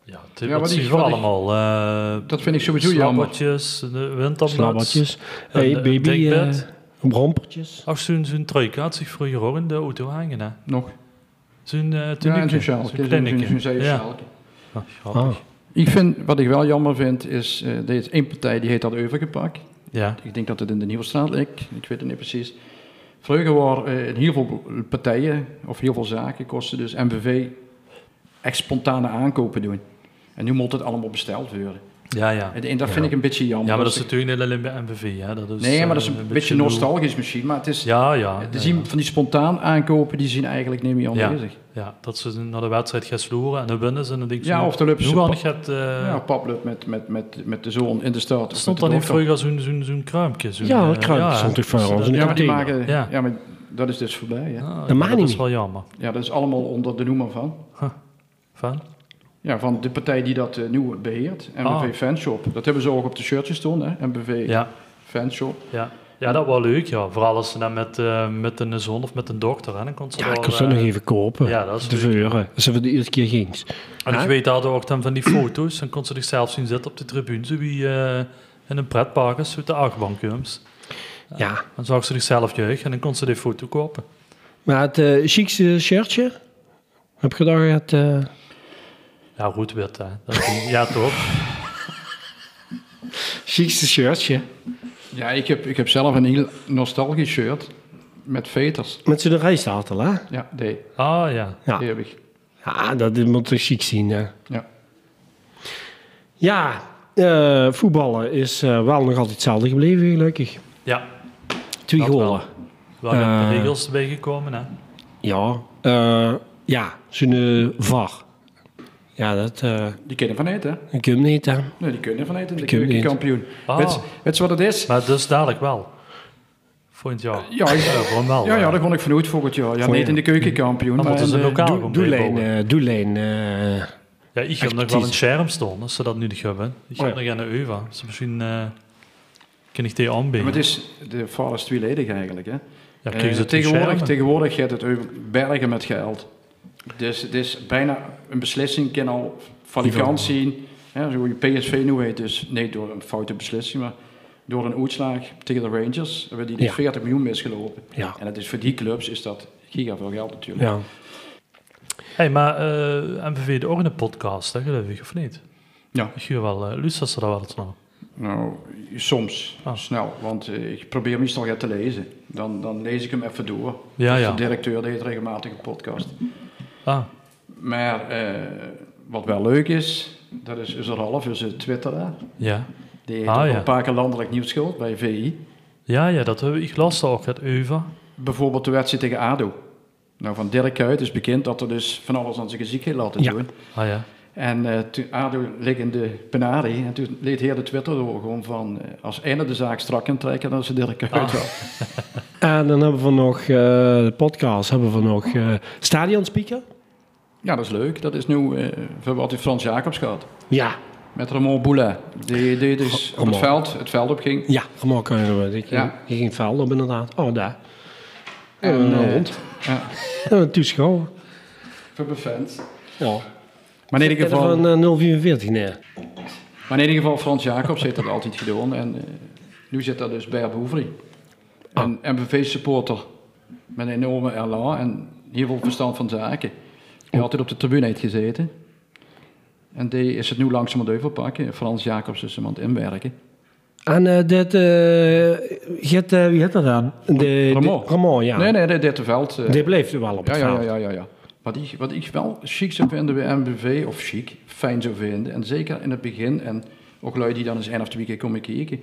S2: het
S3: Ja,
S2: wat
S3: wat
S2: zie
S3: ik-
S2: je voor
S3: wat ik-
S2: allemaal? eh
S3: Dat vind ik sowieso jammer.
S2: slabbertjes, de wintermuts.
S1: Slabbertjes.
S2: een,
S1: Hey,
S2: een
S1: baby. eh
S2: dekbed.
S1: rompertjes.
S2: Of zo'n zo'n truik had zich vroeger ook in de auto hangen. hè.
S3: Nog.
S2: Zo'n eh
S3: Ja, en
S2: tuniekje,
S3: zo'n sjaal.
S2: zo'n kleinetje.
S3: Zo'n zeven
S2: Ja.
S3: sjaaltje.
S2: Ah, grappig.
S1: Ah.
S3: Ik vind, wat ik wel jammer vind, is, eh er is één partij die heet dat Overgepak.
S2: Ja.
S3: Ik denk dat het in de Nieuwstraat ligt, ik weet het niet precies. Vroeger waren eh, in heel veel partijen, of heel veel zaken, kosten dus MVV echt spontane aankopen doen. En nu moet het allemaal besteld worden.
S2: Ja, ja.
S3: En, en dat vind ik een beetje jammer.
S2: Ja, maar dat is
S3: Dus ik-
S2: natuurlijk niet alleen bij MVV. Hè. Dat is,
S3: nee, maar dat is
S2: eh,
S3: een, beetje
S2: bedoel-
S3: nostalgisch misschien, maar het is...
S2: Ja, ja.
S3: de
S2: ja,
S3: zien
S2: ja.
S3: van die spontaan aankopen, die zien eigenlijk niet meer
S2: Ja.
S3: aanwezig.
S2: Ja, dat ze naar de wedstrijd gaan sloeren en dan winnen ze en dan denk je...
S3: Ja, of de Lupse
S2: Nu gaan
S3: pap-
S2: gaat...
S3: Ja, paplup met, met, met, met de zoon in de stad. of
S2: stond dan
S3: met de
S2: in vroeger
S3: dochter.
S2: zo'n zo'n zo'n kruimpje. Zo'n,
S1: Ja,
S2: eh,
S1: het kruimpje stond
S2: hè.
S1: ik voor
S2: Dus
S1: ons.
S2: dat-
S1: in
S3: Ja, maar die
S1: kantine.
S3: maken...
S2: Ja.
S3: Ja. maar dat is dus voorbij, hè.
S2: Ah,
S1: Dat mag
S2: dat
S1: niet
S2: is
S1: meer.
S2: wel jammer.
S3: Ja, dat is allemaal onder de noemer van.
S2: Van?
S3: Ja, van de partij die dat eh, nu beheert, MBV
S2: Ah.
S3: Fanshop. Dat hebben ze ook op de shirtjes toen, hè? MBV
S2: Ja,
S3: Fanshop.
S2: ja. ja, dat was leuk. Ja. Vooral als ze dan met, eh, met een zoon of met een dochter... Hè. Dan kon ze
S1: Ja,
S2: wel,
S1: ik kon ze
S2: eh,
S1: nog even kopen.
S2: ja, dat is
S1: de
S2: leuk.
S1: veuren. Als we de eerste keer ging.
S2: En
S1: Hè?
S2: ik weet daar ook dan van die foto's. Dan kon ze zichzelf zien zitten op de tribune. Zo wie eh, in een pretpark is, uit de achtbank. jongens.
S1: Ja.
S2: Dan zag ze zichzelf jeugd en dan kon ze die foto kopen.
S1: Maar het eh chicste shirtje. Heb je daar het... eh,
S2: Ja, goed wit hè. Dat is- ja, toch?
S1: chicste shirtje.
S3: Ja, ik heb, ik heb zelf een heel nostalgisch shirt met veters.
S1: Met zo'n rijstatel, hè?
S3: Ja, die,
S2: Ah ja.
S1: Ja.
S3: die heb ik.
S1: Ja, dat moet je chic zien, hè.
S3: Ja.
S1: Ja, eh, voetballen is eh, wel nog altijd hetzelfde gebleven, gelukkig.
S2: Ja,
S1: Twee
S2: Dat
S1: golen.
S2: wel. wel zijn
S1: Eh.
S2: de regels erbij gekomen hè.
S1: Ja. eh, ja, zo'n eh, VAR. Ja, dat eh
S3: Die kunnen van eten, hè?
S1: ik hem niet, hè.
S3: Nee, die kunnen van eten. De
S1: kunnen eten.
S3: keukenkampioen.
S2: Ah.
S3: Weet, je- weet je wat het is?
S2: Maar dus dadelijk wel. Volgend jaar.
S3: Ja, ik-
S2: Ja, gewoon wel. eh,
S3: ja, ja,
S2: hè.
S3: daar kon ik vanuit volgend jaar. Ja,
S1: Voor-
S3: niet in de keukenkampioen.
S2: Dan
S3: Maar
S2: moeten
S3: in
S2: ze
S3: de-
S2: lokaal
S1: Eh, Doe-
S2: gaan
S1: Doelijn,
S2: bijbouwen.
S1: eh, doelijn. eh,
S2: Ja, ik ga nog wel een scherm staan als ze dat nu niet hebben. Ik ga
S3: Oh
S2: nog aan de Uva. Dus misschien eh kan ik die
S3: Maar
S2: aanbieden.
S3: het is, de val is tweeledig eigenlijk, hè?
S2: Ja, kijk,
S3: Eh,
S2: ze
S3: tegenwoordig, tegenwoordig gaat het over bergen met geld. Dus het is bijna een beslissing, kan al valikant zien. Ja, zo je PSV nu heet, dus nee door een foute beslissing, maar door een uitslag tegen de Rangers hebben die dus
S1: Ja.
S3: 40 miljoen misgelopen.
S1: ja.
S3: En dat is voor die clubs is dat giga veel geld natuurlijk.
S1: ja.
S2: hey, maar eh MVV de ook een podcast, hè, geloof ik, of niet?
S3: Ja.
S2: Ik huur wel, eh luisteren ze daar wel eens naar?
S3: Nou, soms
S2: Ah.
S3: snel, want eh, ik probeer meestal het te lezen. Dan, dan lees ik hem even door.
S2: Ja,
S3: Dus
S2: ja.
S3: De directeur deed regelmatig een podcast.
S2: Ah,
S3: Maar eh, wat wel leuk is, dat is is er half, is het Twitter. hè.
S2: ja.
S3: Die heeft
S2: Ah,
S3: ook
S2: ja.
S3: een paar keer landelijk nieuws gehad bij VI.
S2: Ja, ja, dat hebben we. Ik las daar ook, het Uva.
S3: Bijvoorbeeld de wedstrijd tegen ADO. Nou, van Dirk Kuyt is bekend dat er dus van alles aan zijn gezicht heeft laten
S1: Ja.
S3: doen.
S2: Ah ja.
S3: En eh, toen ADO lag in de penari. En toen leed heel de Twitter door gewoon van... eh, als einde de zaak strak in trekken, dan is het Dirk Kuyt
S2: Ah.
S3: wel.
S1: En dan hebben we nog eh, de podcast. Hebben we nog eh Stadion Speaker?
S3: Ja, dat is leuk. Dat is nu eh, voor wat die Frans Jacobs gehad.
S1: Ja.
S3: Met Ramon Boulet. Die, die dus
S2: Oh,
S3: op het
S1: Ramon.
S3: veld, het veld op ging.
S1: Ja, allemaal kunnen we. Ik,
S3: Ja.
S1: ik ging het vuil op, inderdaad. Oh, daar.
S3: En,
S1: En, een
S3: eh,
S1: hond.
S3: Ja,
S1: En een toeschouwer.
S3: voor bevent.
S1: Ja.
S3: Maar in ieder geval...
S1: Van eh, 044 neer.
S3: Maar in ieder geval, Frans Jacobs heeft dat altijd gedaan. En eh, nu zit daar dus Bert Boevri. Een MVV-supporter met een enorme elan en heel veel verstand van zaken. Die altijd op de tribune heeft gezeten. En die is het nu langzaam aan het overpakken. Frans Jacobs is hem aan het inwerken.
S1: En eh, dat, eh get, eh, wie had dat dan? De,
S3: Ramon.
S1: de- Ramon, ja.
S3: Nee, nee, dit de veld. eh,
S1: Die bleef er wel op
S3: ja,
S1: het
S3: ja, ja,
S1: veld.
S3: ja, ja, ja. Wat ik, wat ik wel chic zou vinden bij MBV, of chic, fijn zou vinden, en zeker in het begin, en ook lui die dan eens één of twee keer komen kijken,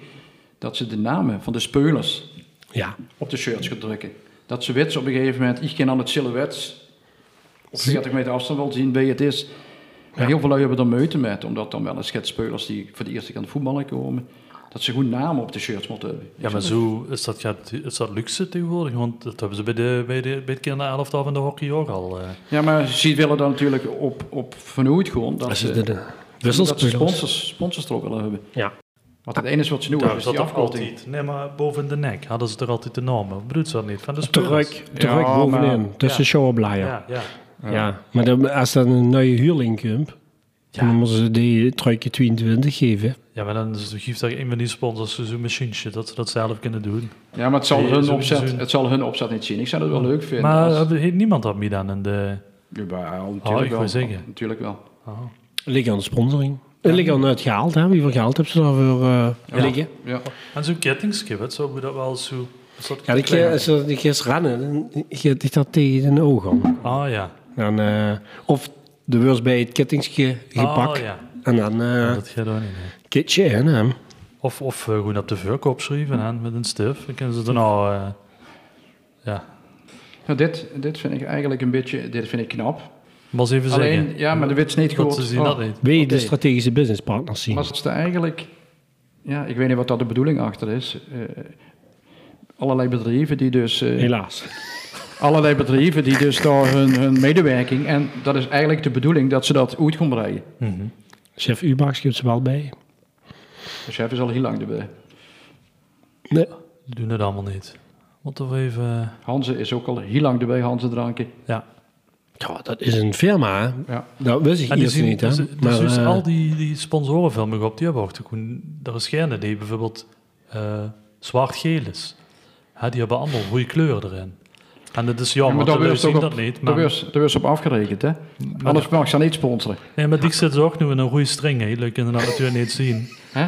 S3: dat ze de namen van de spelers
S1: Ja.
S3: op de shirts gaat drukken. Dat ze wits op een gegeven moment, ik ken aan het silhouet op 40 meter afstand wel zien wie het is. Maar heel veel lui hebben er meute met, omdat dan wel eens schetspelers die voor de eerste keer aan het voetballen komen, dat ze goed namen op de shirts moeten hebben.
S2: Ja, maar zo is dat, gaat- is dat luxe tegenwoordig. Want dat hebben ze bij, de, bij, de, bij het kinderelftal van de hockey ook al. eh.
S3: Ja, maar ze willen dan natuurlijk op, op vanuit gewoon dat
S1: Dat
S3: ze,
S1: is
S3: dat
S1: de, de
S3: ze
S1: wisselspelers.
S3: sponsors, sponsors erop willen hebben.
S1: Ja.
S3: Want het ene is wat ze nu
S2: Ah, Daar
S3: hebben,
S2: is
S3: is
S2: dat
S3: die
S2: toch
S3: afkorting.
S2: altijd. Nee, maar boven de nek hadden ze er altijd de naam. Of bedoelt ze dat niet? Van de spelers.
S1: Terug,
S3: Ja,
S1: terug bovenin.
S3: maar-
S1: Tussen
S2: Ja.
S1: show en blijer.
S2: Ja, ja.
S1: Ja. Maar dan, als dan een nieuwe huurling komt, dan moeten ze die truikje 22 geven.
S2: ja, maar dan is het- geeft dat een van die sponsors zo'n machientje dat ze dat zelf kunnen doen.
S3: Ja, maar het zal,
S2: Nee,
S3: hun
S2: sowieso.
S3: opzet, het zal hun opzet niet zien. Ik zou dat wel leuk vinden.
S2: maar
S3: als-
S2: hebben- heeft niemand dat mee dan? In de...
S3: Jawel,
S2: Oh,
S3: natuurlijk
S2: ik
S3: wel.
S2: wou zeggen.
S3: Natuurlijk wel.
S2: Ah.
S1: Liggen aan de sponsoring. En liggen aan het gehaald, hè? Wie voor gehaald hebben ze daarvoor eh liggen?
S3: Ja.
S2: En zo'n kettingskip, zo we dat wel zo... is dat
S1: Ja, die keer, eh, als ze die keer rennen, dan gaat die dat tegen de ogen. aan.
S2: Ah ja.
S1: Dan, eh, of de worst bij het kettingske gepakt.
S2: Ah, ja.
S1: En dan eh
S2: Dat gaat ook niet. nee.
S1: kitje in hem.
S2: Of, of eh, gewoon op de verkoop schrijven aan met een stif. Dan kunnen ze er nou... eh, ja,
S3: Nou, dit, dit vind ik eigenlijk een beetje, dit vind ik knap.
S2: was even
S3: Alleen, oh.
S2: zeggen.
S3: ja, maar de wit niet
S2: Want
S3: goed.
S2: ze zien dat niet.
S1: Wil je de
S3: Oké.
S1: strategische businesspartners zien?
S3: Maar ze eigenlijk, ja, ik weet niet wat daar de bedoeling achter is. Eh, allerlei bedrijven die dus, eh,
S1: Helaas.
S3: allerlei bedrijven die dus daar hun, hun medewerking en dat is eigenlijk de bedoeling dat ze dat uit gaan breien.
S2: Mhm.
S1: Chef Ubax geeft ze wel bij.
S3: De chef is al heel lang erbij.
S1: Nee.
S2: Doen het allemaal niet. Wat toch even... eh,
S3: Hanze is ook al heel lang erbij, Hanze Dranken.
S2: ja.
S1: Ja, dat is een firma. hè.
S3: Ja.
S1: Dat wist ik
S2: En die
S1: eerst
S2: zien,
S1: niet. Hè?
S2: dus,
S1: Maar,
S2: dus
S1: eh,
S2: al die, die sponsorenfilmen op, die hebben ook gewoon, daar is geen die bijvoorbeeld eh, zwart-geel is. Hè, die hebben allemaal goede kleuren erin. En dat is
S3: Ja,
S2: jammer,
S3: daar
S2: dat
S3: wordt
S2: zien
S3: ook
S2: dat
S3: op-
S2: niet.
S3: Daar
S2: Maar,
S3: wordt daar wordt ze op afgerekend, hè? Anders mag ze niet sponsoren.
S2: nee, maar die zit ze ook nu in een goede string. Hè. Jullie kunnen dat natuurlijk niet zien.
S3: Hè?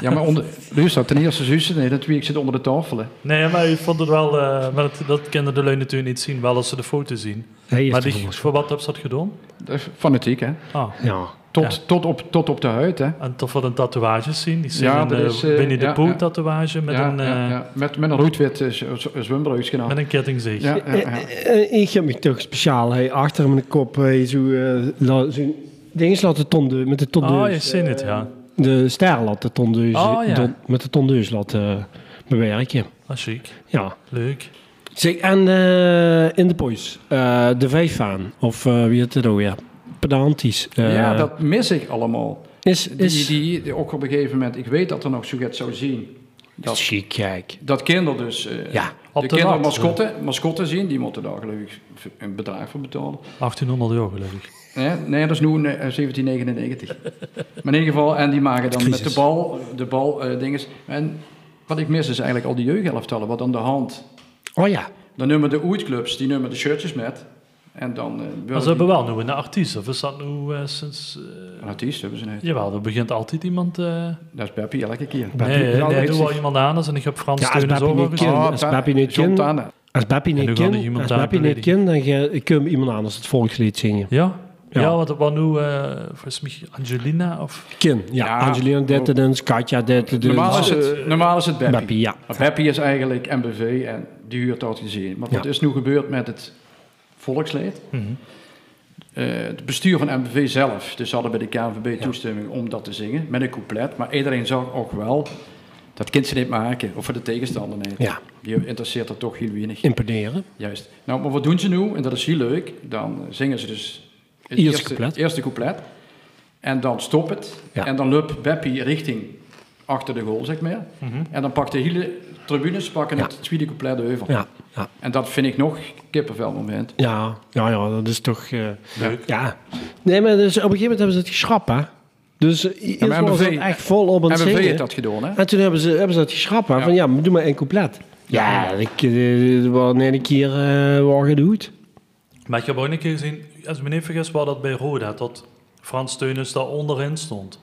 S3: Ja, maar onder, luister, ten eerste zussen, nee, dat wie ik zit onder de tafel. hè.
S2: Nee, maar ik vond het wel... eh, maar dat, dat kunnen de lui natuurlijk niet zien, wel als ze de foto zien.
S1: hij heeft
S2: Maar
S1: er
S2: die,
S1: volgens-
S2: voor wat hebben ze dat gedaan?
S3: Dat is Fanatiek, hè?
S2: Ah,
S1: ja.
S3: Tot, tot, op, tot op de huid, hè?
S2: en toch voor een tatoeage zien. Die zien
S3: Ja,
S2: een
S3: er
S2: eh,
S3: is, eh,
S2: Winnie
S3: ja,
S2: de Pooh
S3: ja.
S2: tatoeage met
S3: ja,
S2: een,
S3: ja,
S2: eh,
S3: ja. Met, met een roodwit eh, z- z- zwembroekje gedaan.
S2: met een kettingzeeg.
S3: Ja, ja, ja.
S1: Eh, eh, Ik heb me toch speciaal hey, achter mijn kop hey, zo, eh la- zo'n ding laten tonden met de tondeus.
S2: Oh, je ziet
S1: eh,
S2: het, ja.
S1: De ster laten tondeus,
S2: Oh, ja.
S1: don- met de tondeus laten eh, bewerken.
S2: Ah, chic.
S1: Ja.
S2: Leuk.
S1: Zeg, en eh, in de poes, eh, de vijfaan, of eh, wie het het ook, ja. Pedantisch. eh,
S3: ja, dat mis ik allemaal.
S1: is, is,
S3: Die, die, die- ook op een gegeven moment, ik weet dat er nog zoiets zou zien. Dat,
S1: chic, kijk.
S3: dat kinderen dus, eh,
S1: Ja.
S2: Op
S3: de
S2: de
S3: kinderen
S2: lat,
S3: mascotten, mascotten zien, die moeten daar gelukkig een bedrag voor betalen.
S2: 1800 euro, geloof ik.
S3: Nee, nee, dat is nu eh, 1799. maar in ieder geval, en die maken dan met
S1: Crisis.
S3: de bal, de bal eh, dinges. En wat ik mis is eigenlijk al die jeugdhelftallen, wat aan de hand.
S1: Oh ja.
S3: Dan nemen de oertclubs, die nemen de shirtjes met. En dan... eh,
S2: Maar
S3: worden
S2: ze hebben wel nu een artiest, of is dat nu eh, sinds... eh,
S3: die- Een artiest hebben ze niet.
S2: jawel, er begint altijd iemand... eh,
S3: Dat is Peppy elke keer.
S1: Beppie-
S2: nee,
S1: ja,
S2: nee,
S1: weet
S2: doe
S1: ik.
S2: wel iemand anders en ik heb Frans
S1: Ja, als
S2: Steunen
S1: Beppie
S2: zo
S1: niet kan. als
S3: Ta-
S1: Papi niet
S3: John
S1: kind-
S3: Tana.
S1: Als Beppie
S2: En
S1: niet
S2: nu gaat er
S1: kind,
S2: iemand
S1: als
S2: aan
S1: Beppie niet
S2: beledigen.
S1: kind, dan ge- kun je iemand anders het volkslied zingen.
S2: Ja?
S1: Ja.
S2: Ja, want wat nu, eh, volgens mij Angelina of...
S1: Kin, ja.
S3: Ja.
S1: Angelina Dittedens, Katja Dittedens.
S3: Normaal is het, normaal is het Beppie.
S1: Beppie, ja.
S3: Maar Beppie is eigenlijk MBV en die huurt altijd gezien. Maar wat
S1: Ja. Mhm.
S3: is nu gebeurd met het volksleed? Eh, het bestuur van MBV zelf, dus ze hadden bij de KNVB toestemming om dat te zingen met een couplet. Maar iedereen zag ook wel dat kind ze niet maken, of voor de tegenstander niet.
S1: Ja.
S3: Die interesseert er toch heel weinig.
S1: Imponeren.
S3: Juist. Nou, maar wat doen ze nu? En dat is heel leuk. Dan eh, zingen ze dus het
S1: Eerste
S3: eerste,
S1: couplet.
S3: eerste couplet. En dan stopt het.
S1: Ja.
S3: En dan loopt Beppie richting achter de goal, zeg maar. En dan pakt de hele tribunes pakken
S1: Mhm. Ja.
S3: het tweede couplet over.
S1: Ja, ja.
S3: En dat vind ik nog kippenvel moment.
S1: Ja, ja, ja, dat is toch... eh,
S2: Leuk.
S1: ja. Nee, maar dus op een gegeven moment hebben ze het geschrapt, hè. Dus eerst
S3: maar
S1: was
S3: MBV
S1: het echt vol op aan
S3: En
S1: het
S3: MVV heeft
S1: zingen.
S3: dat gedaan, hè?
S1: En toen hebben ze, hebben ze dat geschrapt, hè.
S3: Ja.
S1: Van ja, maar doe maar één couplet. Ja, ik, eh, wanneer ik hier uh, waar gedoet.
S2: Maar ik heb ook een keer gezien, als ik me niet vergis, was dat bij Roda, dat Frans Steunis daar onderin stond.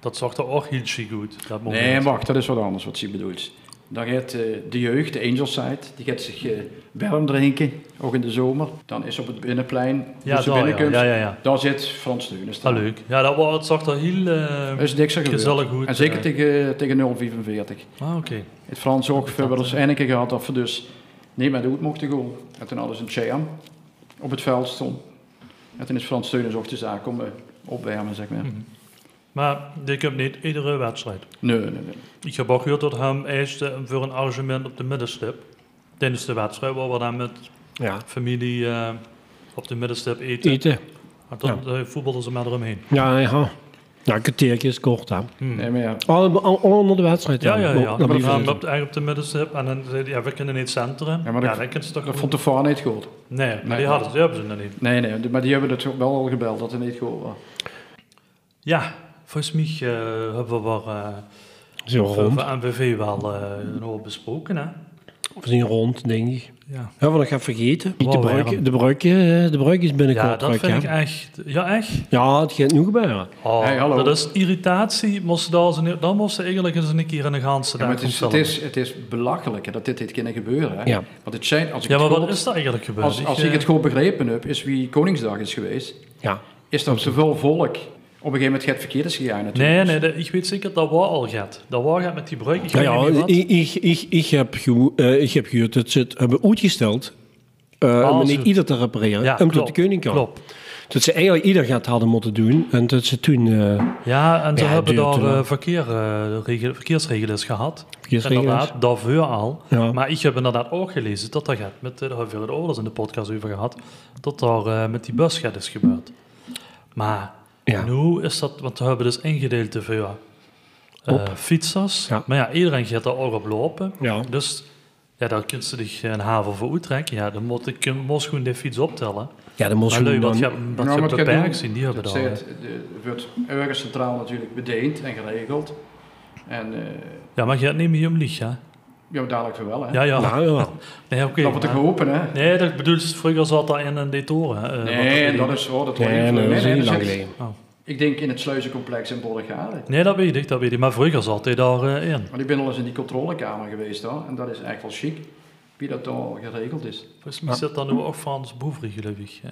S2: Dat zag er ook heel chic uit, dat moment.
S3: Nee, wacht, dat is wat anders wat ze bedoelt. Dan gaat eh, de jeugd, de Angels Side, die gaat zich eh, warm drinken, ook in de zomer. Dan is op het binnenplein,
S2: Ja,
S3: als je
S2: daar, ja.
S3: binnenkomt,
S2: Ja, ja, ja.
S3: daar zit Frans Steunis.
S2: Ah, leuk. Ja, dat, was, het zag er heel... eh,
S3: Er is niks aan gebeurd.
S2: Gezellig goed,
S3: En zeker
S2: eh.
S3: tegen, tegen 045.
S2: ah, oké.
S3: Het Frans ook hebben we eens een keer gehad dat we dus niet met de hoed mochten gaan. En toen hadden ze een jam op het veld stond. En toen is Frans Steunens ook de zaak om eh, opwarmen, zeg maar.
S2: Mhm. Maar ik heb niet iedere wedstrijd.
S3: Nee, nee, nee.
S2: Ik heb ook gehoord dat hem eiste voor een argument op de middenstip. Tijdens de wedstrijd, waar we dan met
S1: Ja.
S2: familie eh, op de middenstip eten.
S1: Eten.
S2: Maar dan eh, voetballen ze maar eromheen. Mhm.
S1: Ja, ja. Ja, een kwartiertje is kort, hè.
S2: Hm.
S3: Nee, maar ja.
S1: Al, al- al onder de wedstrijd.
S2: Ja, ja, ja.
S1: Dan
S2: Maar
S1: blijven
S2: dan
S1: ze-
S2: op, eigenlijk op de middenstip. En dan zei hij, ja, we kunnen niet centeren.
S3: Ja,
S2: Ja,
S3: maar dat-
S2: dan kunnen ze toch...
S3: Dat vond de VAR niet goed.
S2: Nee, maar
S3: Nee.
S2: die, hadden, die hebben ze nog niet.
S3: Nee, nee, maar die hebben het wel al gebeld dat het niet goed was.
S2: Ja, volgens mij eh, hebben we wel, eh,
S1: Zo rond.
S2: over MVV wel eh, een hoop besproken, hè?
S1: We zien rond, denk ik.
S2: Ja,
S1: Hebben we nog even vergeten? De
S2: Wow,
S1: bruik,
S2: Aaron.
S1: de bruik, eh, de bruik is binnenkort
S2: ja dat
S1: terug,
S2: vind ik
S1: hè.
S2: echt... Ja, echt?
S1: Ja, het gaat nu gebeuren.
S2: Oh,
S3: Hey, hallo.
S2: Dat is irritatie. Moest daar ze, niet- dan moest ze eigenlijk eens een keer in de ganse
S3: Ja,
S2: dag
S3: maar het, is,
S2: om
S3: het,
S2: filmen.
S3: is, het is belachelijk hè, dat dit dit kunnen gebeuren. Hè.
S1: Ja.
S3: Want het zijn, als ik
S2: Ja, maar
S3: het
S2: wat
S3: goed-
S2: is dat eigenlijk gebeurd?
S3: als, als ik
S2: eh,
S3: het goed begrepen heb, is wie Koningsdag is geweest,
S1: Ja.
S3: is dat zoveel volk een gegeven moment gaat het verkeerd is gegaan natuurlijk.
S2: Nee, nee, dat- ik weet zeker dat waar al gaat. Dat waar gaat met die bruik. Ik
S1: Nou
S2: weet niet
S1: ja,
S2: wat.
S1: ik, ik, ik, ik heb gewo- eh, ik heb gehoord dat ze het hebben uitgesteld. eh om
S2: Als-
S1: niet ieder te repareren,
S2: Ah, Ja,
S1: om tot
S2: klopt,
S1: de koning kan.
S2: Klopt.
S1: Dat ze eigenlijk ieder gaat hadden moeten doen. En dat ze toen eh
S2: Ja, en ze
S1: Ja,
S2: hebben
S1: duurt
S2: daar
S1: te lang.
S2: eh, verkeer, eh, regel- verkeersregels gehad.
S1: verkeersregels-
S2: Inderdaad, daarvoor al.
S1: Ja.
S2: Maar ik heb inderdaad ook gelezen dat dat gaat met, eh, daar hebben we het oorlogs in de podcast over gehad, dat daar eh, met die bus gaat is gebeurd. Maar
S1: Ja.
S2: nu is dat, want we hebben dus ingedeeld de VA. eh, fietsers.
S1: Ja.
S2: Maar ja, iedereen gaat daar ook op lopen.
S1: Ja.
S2: Dus ja, daar kun je dich een haven voor uittrekken. Ja, dan moet ik moest gewoon de fiets optellen.
S1: ja, dan moest
S2: Maar
S1: je
S2: leuk, wat
S1: dan-
S2: je, wat
S3: Nou,
S2: je
S3: maar het gaat
S2: beperkt
S3: doen-
S2: zien, die hebben
S3: Het
S2: daar.
S3: zit- de- wordt ergens centraal natuurlijk bedeeld en geregeld. En eh,
S2: Ja, maar je gaat niet meer om lieg, hè?
S3: ja, dadelijk weer wel, hè?
S2: Ja, ja.
S1: Nou, ja.
S2: Nee, oké.
S3: dat wordt ik
S2: maar-
S3: geholpen, hè?
S2: Nee, dat bedoel je, vroeger zat dat in een detoren. eh, wat
S3: nee,
S2: dat
S3: dat
S2: bedoel-
S3: is zo. Dat wordt
S1: Nee,
S3: niet-
S1: nee, dat is
S3: nee,
S1: niet
S3: dat
S1: lang
S3: is-
S1: geleden.
S3: Ik denk in het sluizencomplex in Borregade.
S2: Nee, dat weet ik, dat weet ik. Maar vroeger zat hij daar eh, in.
S3: Maar ik ben al eens in die controlekamer geweest hoor. En dat is echt wel chic. Wie dat al geregeld is.
S2: Volgens mij zit dat nu ook Frans Boevri, gelukkig. eh.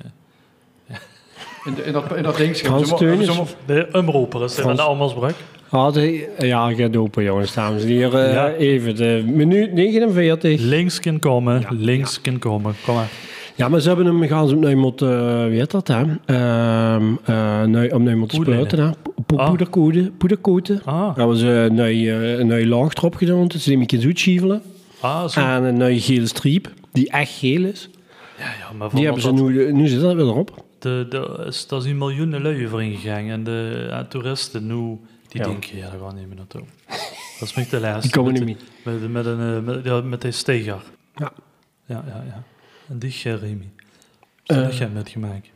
S3: In, de- in dat, in dat ding.
S1: Frans Teunis?
S2: De omroeper is in
S1: Frans-
S2: de Almersbrug.
S1: Had hij, Ah, ja, gaat open jongens, dames en heren. Eh,
S2: Ja.
S1: Even, de minuut 49.
S2: Links kan komen, links kan komen. Kom maar.
S1: Ja, maar ze hebben hem gaan ze hem nu moet, eh weet dat hè? Ehm eh nu, om nu moet
S2: Poedelen.
S1: spuiten hè? Po-
S2: Ah.
S1: Poederkoeten, poederkoeten.
S2: Ah,
S1: Hebben ze nu, eh, nu laag erop gedaan, dat ze die een beetje uitschievelen.
S2: ah zo.
S1: En een nieuwe gele striep, die echt geel is.
S2: ja, ja, maar van
S1: Die
S2: dat,
S1: hebben ze nu, nu zit dat weer erop.
S2: De, de, is, daar zijn miljoenen lui voor ingegaan. En de eh, toeristen nu, die
S1: Ja.
S2: denken, ja, daar gaan we niet meer naartoe. dat is met de lijst.
S1: Die komen
S2: met,
S1: niet
S2: Met, met, een, eh, met, ja, met die steger.
S1: Ja.
S2: Ja, ja, ja. En die eh, Remy.
S1: Eh.
S2: Daar heb jij met gemaakt.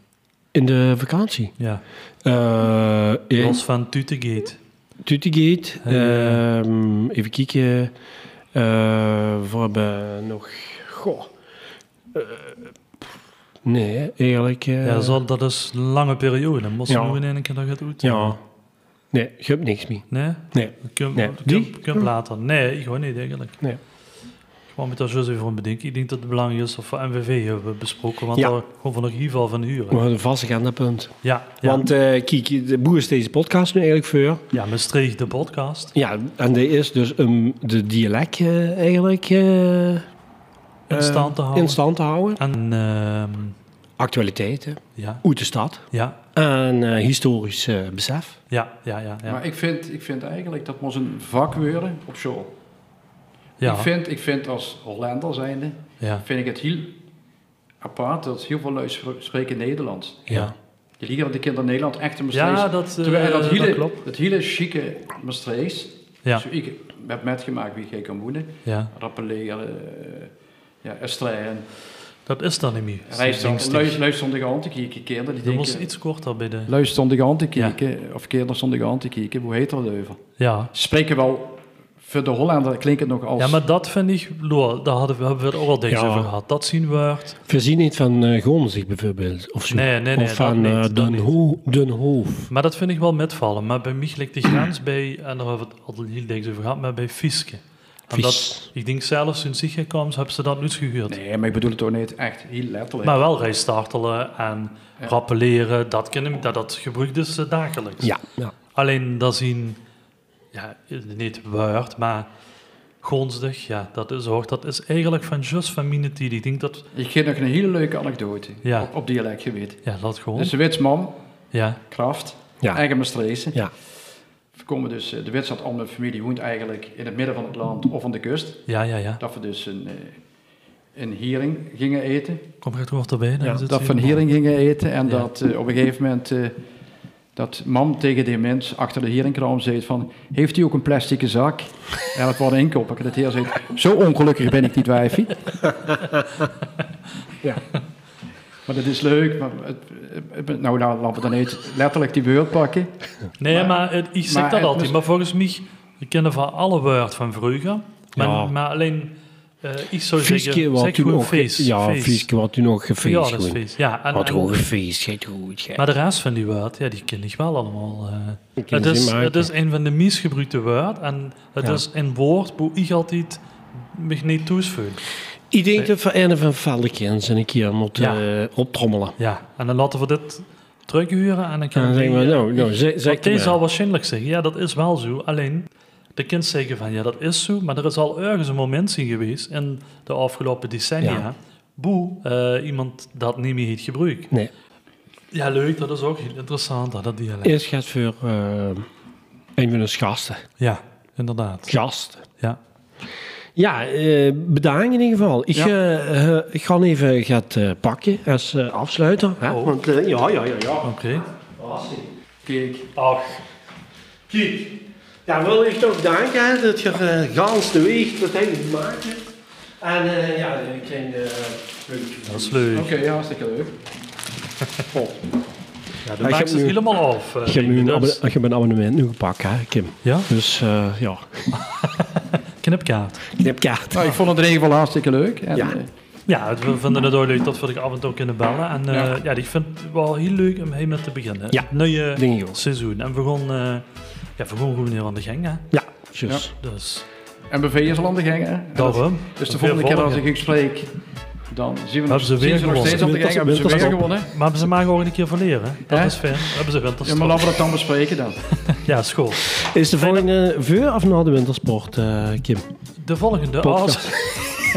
S1: In de vakantie.
S2: Ja.
S1: Eh in
S2: Los van Tutegate.
S1: Tutigate.
S2: Eh.
S1: ehm, even kijken. Eh we hebben nog... Goh. Eh, nee, eerlijk... eh,
S2: ja, zo, dat is een lange periode. Moest je
S1: Ja.
S2: nu in één keer dat gaat uit.
S1: Ja. Nee, je hebt niks meer.
S2: Nee?
S1: Nee.
S2: Kun,
S1: Nee.
S2: kun,
S1: Die?
S2: kun later. Nee, ik gewoon niet eigenlijk.
S1: Nee.
S2: Ik kwam met daar juist even aan bedenken. Ik denk dat het belangrijk is of we MVV hebben besproken. Want
S1: Ja.
S2: daar gaan we nog in ieder geval van huren.
S1: We hadden vast aan dat punt.
S2: Ja, ja.
S1: Want eh kijk, de boer is deze podcast nu eigenlijk voor.
S2: ja Maastricht, de podcast.
S1: Ja, en die is dus um, de dialect eh, eigenlijk... eh,
S2: In
S1: eh,
S2: stand te houden.
S1: In stand te houden.
S2: En ehm,
S1: Actualiteiten,
S2: ja,
S1: uit de stad.
S2: ja,
S1: En eh, historisch eh, besef.
S2: ja, ja, ja. ja.
S3: Maar ik vind, ik vind eigenlijk dat moet een vak worden op school.
S2: ja,
S3: Ik, vind, ik vind als Hollander zijnde,
S2: ja,
S3: vind ik het heel apart dat heel veel lui spro- spreken Nederlands.
S2: ja.
S3: Die liggen de kinderen Nederland echt in Maastricht.
S2: Ja, dat, eh,
S3: Terwijl dat,
S2: dat
S3: hele,
S2: klopt.
S3: dat hele chique Maastricht,
S2: Ja,
S3: zo ik heb metgemaakt wie jij kan wonen,
S2: ja.
S3: rappeleren, eh, ja, Estreien,
S2: Dat is dan niet meer.
S3: Luister luisterende hand te kijken, kinderen die eh,
S2: Je moest
S3: denken...
S2: iets korter bij de...
S3: Luisterende hand te kijken, of kinderen zonder hand te kijken, hoe heet dat over?
S2: Ja.
S3: Spreken wel, voor de Hollander klinkt het nog als...
S2: Ja, maar dat vind ik... Loor, daar hadden we, hebben we het ook al dicht
S1: Ja.
S2: over gehad. Dat zien we echt.
S1: Voorzien niet van eh Gonzig bijvoorbeeld. Of zo.
S2: Nee, nee, nee,
S1: Of van
S2: dat niet,
S1: eh,
S2: dat
S1: Den,
S2: niet.
S1: Ho Den Hoof.
S2: Maar dat vind ik wel metvallen. Maar bij mij ligt de grens bij... En daar hebben we het al heel dicht over gehad. Maar bij Fiske. En dat,
S1: Fies.
S2: ik denk zelfs sinds ik gekomen is, hebben ze dat niet gehuurd.
S3: Nee, maar ik bedoel het ook niet echt heel letterlijk.
S2: Maar wel rijstartelen en rappelleren, dat ken ik, dat, dat gebruikt is eh, dagelijks.
S1: Ja. ja.
S2: Alleen dat zien, ja, niet waard, maar gonstig, ja, dat is hoort. Dat is eigenlijk van just van mijn tijd. Ik denk dat,
S3: Ik geef nog een hele leuke anekdote
S2: Ja.
S3: op, op dialect geweten.
S2: ja, dat gewoon.
S3: Dus de witsman,
S2: ja,
S3: Kraft,
S1: Ja.
S3: eigen Maastrichtse.
S1: Ja.
S3: We komen dus, eh, de wet zat al mijn familie woont eigenlijk in het midden van het land of aan de kust.
S2: ja, ja, ja.
S3: Dat we dus een, eh, een hiering gingen eten.
S2: Kom er toch erbij. dan
S1: Ja,
S2: is het
S3: Dat we
S2: hier.
S3: een hiering gingen eten en
S2: Ja.
S3: dat eh, op een gegeven moment eh, dat mam tegen die mens achter de hieringkraam zei van, heeft u ook een plastic zak? En dat was een inkoper. En het heer zei, zo ongelukkig ben ik niet wijfie. ja. Maar dat is leuk. Maar het, het- het- nou, nou, laten we dan eens letterlijk die beurt pakken.
S2: Nee, maar,
S3: Maar-
S2: het- ik zeg
S3: maar
S2: dat
S3: het
S2: altijd.
S3: moest-
S2: Maar volgens mij, we kennen van alle woord van vroeger. Maar,
S1: Ja.
S2: maar alleen, eh, ik zou
S1: Fieske
S2: zeggen,
S1: wat
S2: zeg
S1: toen
S2: gewoon
S1: nog...
S2: feest.
S1: Ja, Fieske wat toen nog gefeest. gewoon.
S2: Verjaardagsfeest. Ja, en,
S1: Wat
S2: en-
S1: hoog gefeest, gij goed. gij.
S2: Maar de rest van die woord, ja, die ken ik wel allemaal. eh.
S1: Ik ken
S2: het,
S1: ze
S2: is,
S1: maar
S2: het
S1: uit,
S2: is een van de meest gebruikte woord en het
S1: Ja.
S2: is een woord waar ik altijd me niet toesveel.
S1: Ik denk dat we een van Veldekens een keer moeten
S2: Ja.
S1: eh, optrommelen.
S2: Ja, en dan laten we dit terughuren en dan
S1: En
S2: kan
S1: dan
S2: die,
S1: zeggen we,
S2: eh,
S1: nou, nou ze- zeg het
S2: Want
S1: maar.
S2: deze zal waarschijnlijk zeggen, ja, dat is wel zo. Alleen, de kind zeggen van, ja, dat is zo. Maar er is al ergens een moment zien geweest in de afgelopen decennia...
S1: Ja.
S2: boe, eh, iemand dat niet meer heeft gebruikt.
S1: Nee,
S2: Ja, leuk, dat is ook heel interessant, dat, dat dialect.
S1: eerst gaat voor eh, een van ons gasten.
S2: Ja, inderdaad.
S1: Gast.
S2: Ja.
S1: Ja, eh bedankt in ieder geval. Ik,
S2: Ja.
S1: eh, eh, ik ga even gaat eh, pakken als eh, afsluiter. Hè?
S2: Oh.
S1: Want, eh, ja, ja, ja, ja.
S2: Oké.
S3: Kijk,
S2: Ach,
S1: Kijk, daar wil ik toch danken hè, dat je eh, gans de week dat hij gemaakt hebt. En eh, ja, ik denk eh
S2: dat is leuk.
S3: oké, ja, hartstikke leuk.
S2: Ja, de
S1: Ja, ik
S2: maak
S1: heb
S2: is
S1: nu-
S2: helemaal af. eh,
S1: Ik heb
S2: denk
S1: nu
S2: ik,
S1: een,
S2: dus.
S1: abonne- ik heb een abonnement nu gepakt, hè, Kim.
S2: Ja,
S1: Dus eh, ja,
S2: knipkaart.
S1: knipkaart.
S3: Nou, ik vond het in ieder geval hartstikke leuk. En,
S1: Ja.
S3: eh,
S2: Ja, het- we vinden het ook leuk dat we er af en toe kunnen bellen. En eh,
S3: Ja.
S2: ja. ik vind het wel heel leuk om mee te beginnen.
S1: Ja,
S2: Het nieuwe
S1: denk ik ook.
S2: seizoen. En we gaan, eh, ja, we gaan gewoon weer aan de gang, hè.
S1: Ja, dus.
S2: Dus,
S3: MBV is al aan de gang, hè? En dat-
S2: daarom.
S3: Dus de
S2: Weer
S3: volgende keer als
S2: volgen.
S3: ik u spreek, dan zien we nog,
S2: Hebben ze weer
S3: zien ze nog
S2: gewonnen.
S3: steeds aan de gang. Hebben ze weer
S1: Winterstop.
S3: gewonnen?
S2: Maar hebben ze maar gewoon een keer van leren. Dat
S3: Hè?
S2: is fijn. Hebben ze
S3: Ja, maar
S2: winterstop.
S3: laten we dat dan bespreken dan.
S2: Ja, school.
S1: Is de volgende voor of na de wintersport, eh, Kim?
S2: De volgende.
S1: Podcast.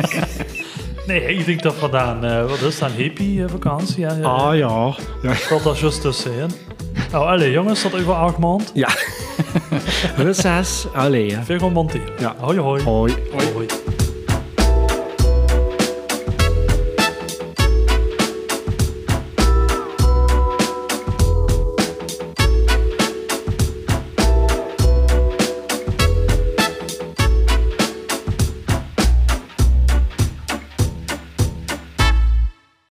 S2: Als... nee, ik denk dat we dan... eh, wat is dat? Een hippie eh, vakantie? Ja, ja.
S1: Ah ja. Ja.
S2: Dat was juist tussenin. Nou, allee, jongens, tot over acht maanden.
S1: ja. Reces. Allee. hè.
S2: Veel gewoon monteren.
S1: Ja.
S2: Hoi, hoi.
S1: Hoi.
S2: Hoi. hoi.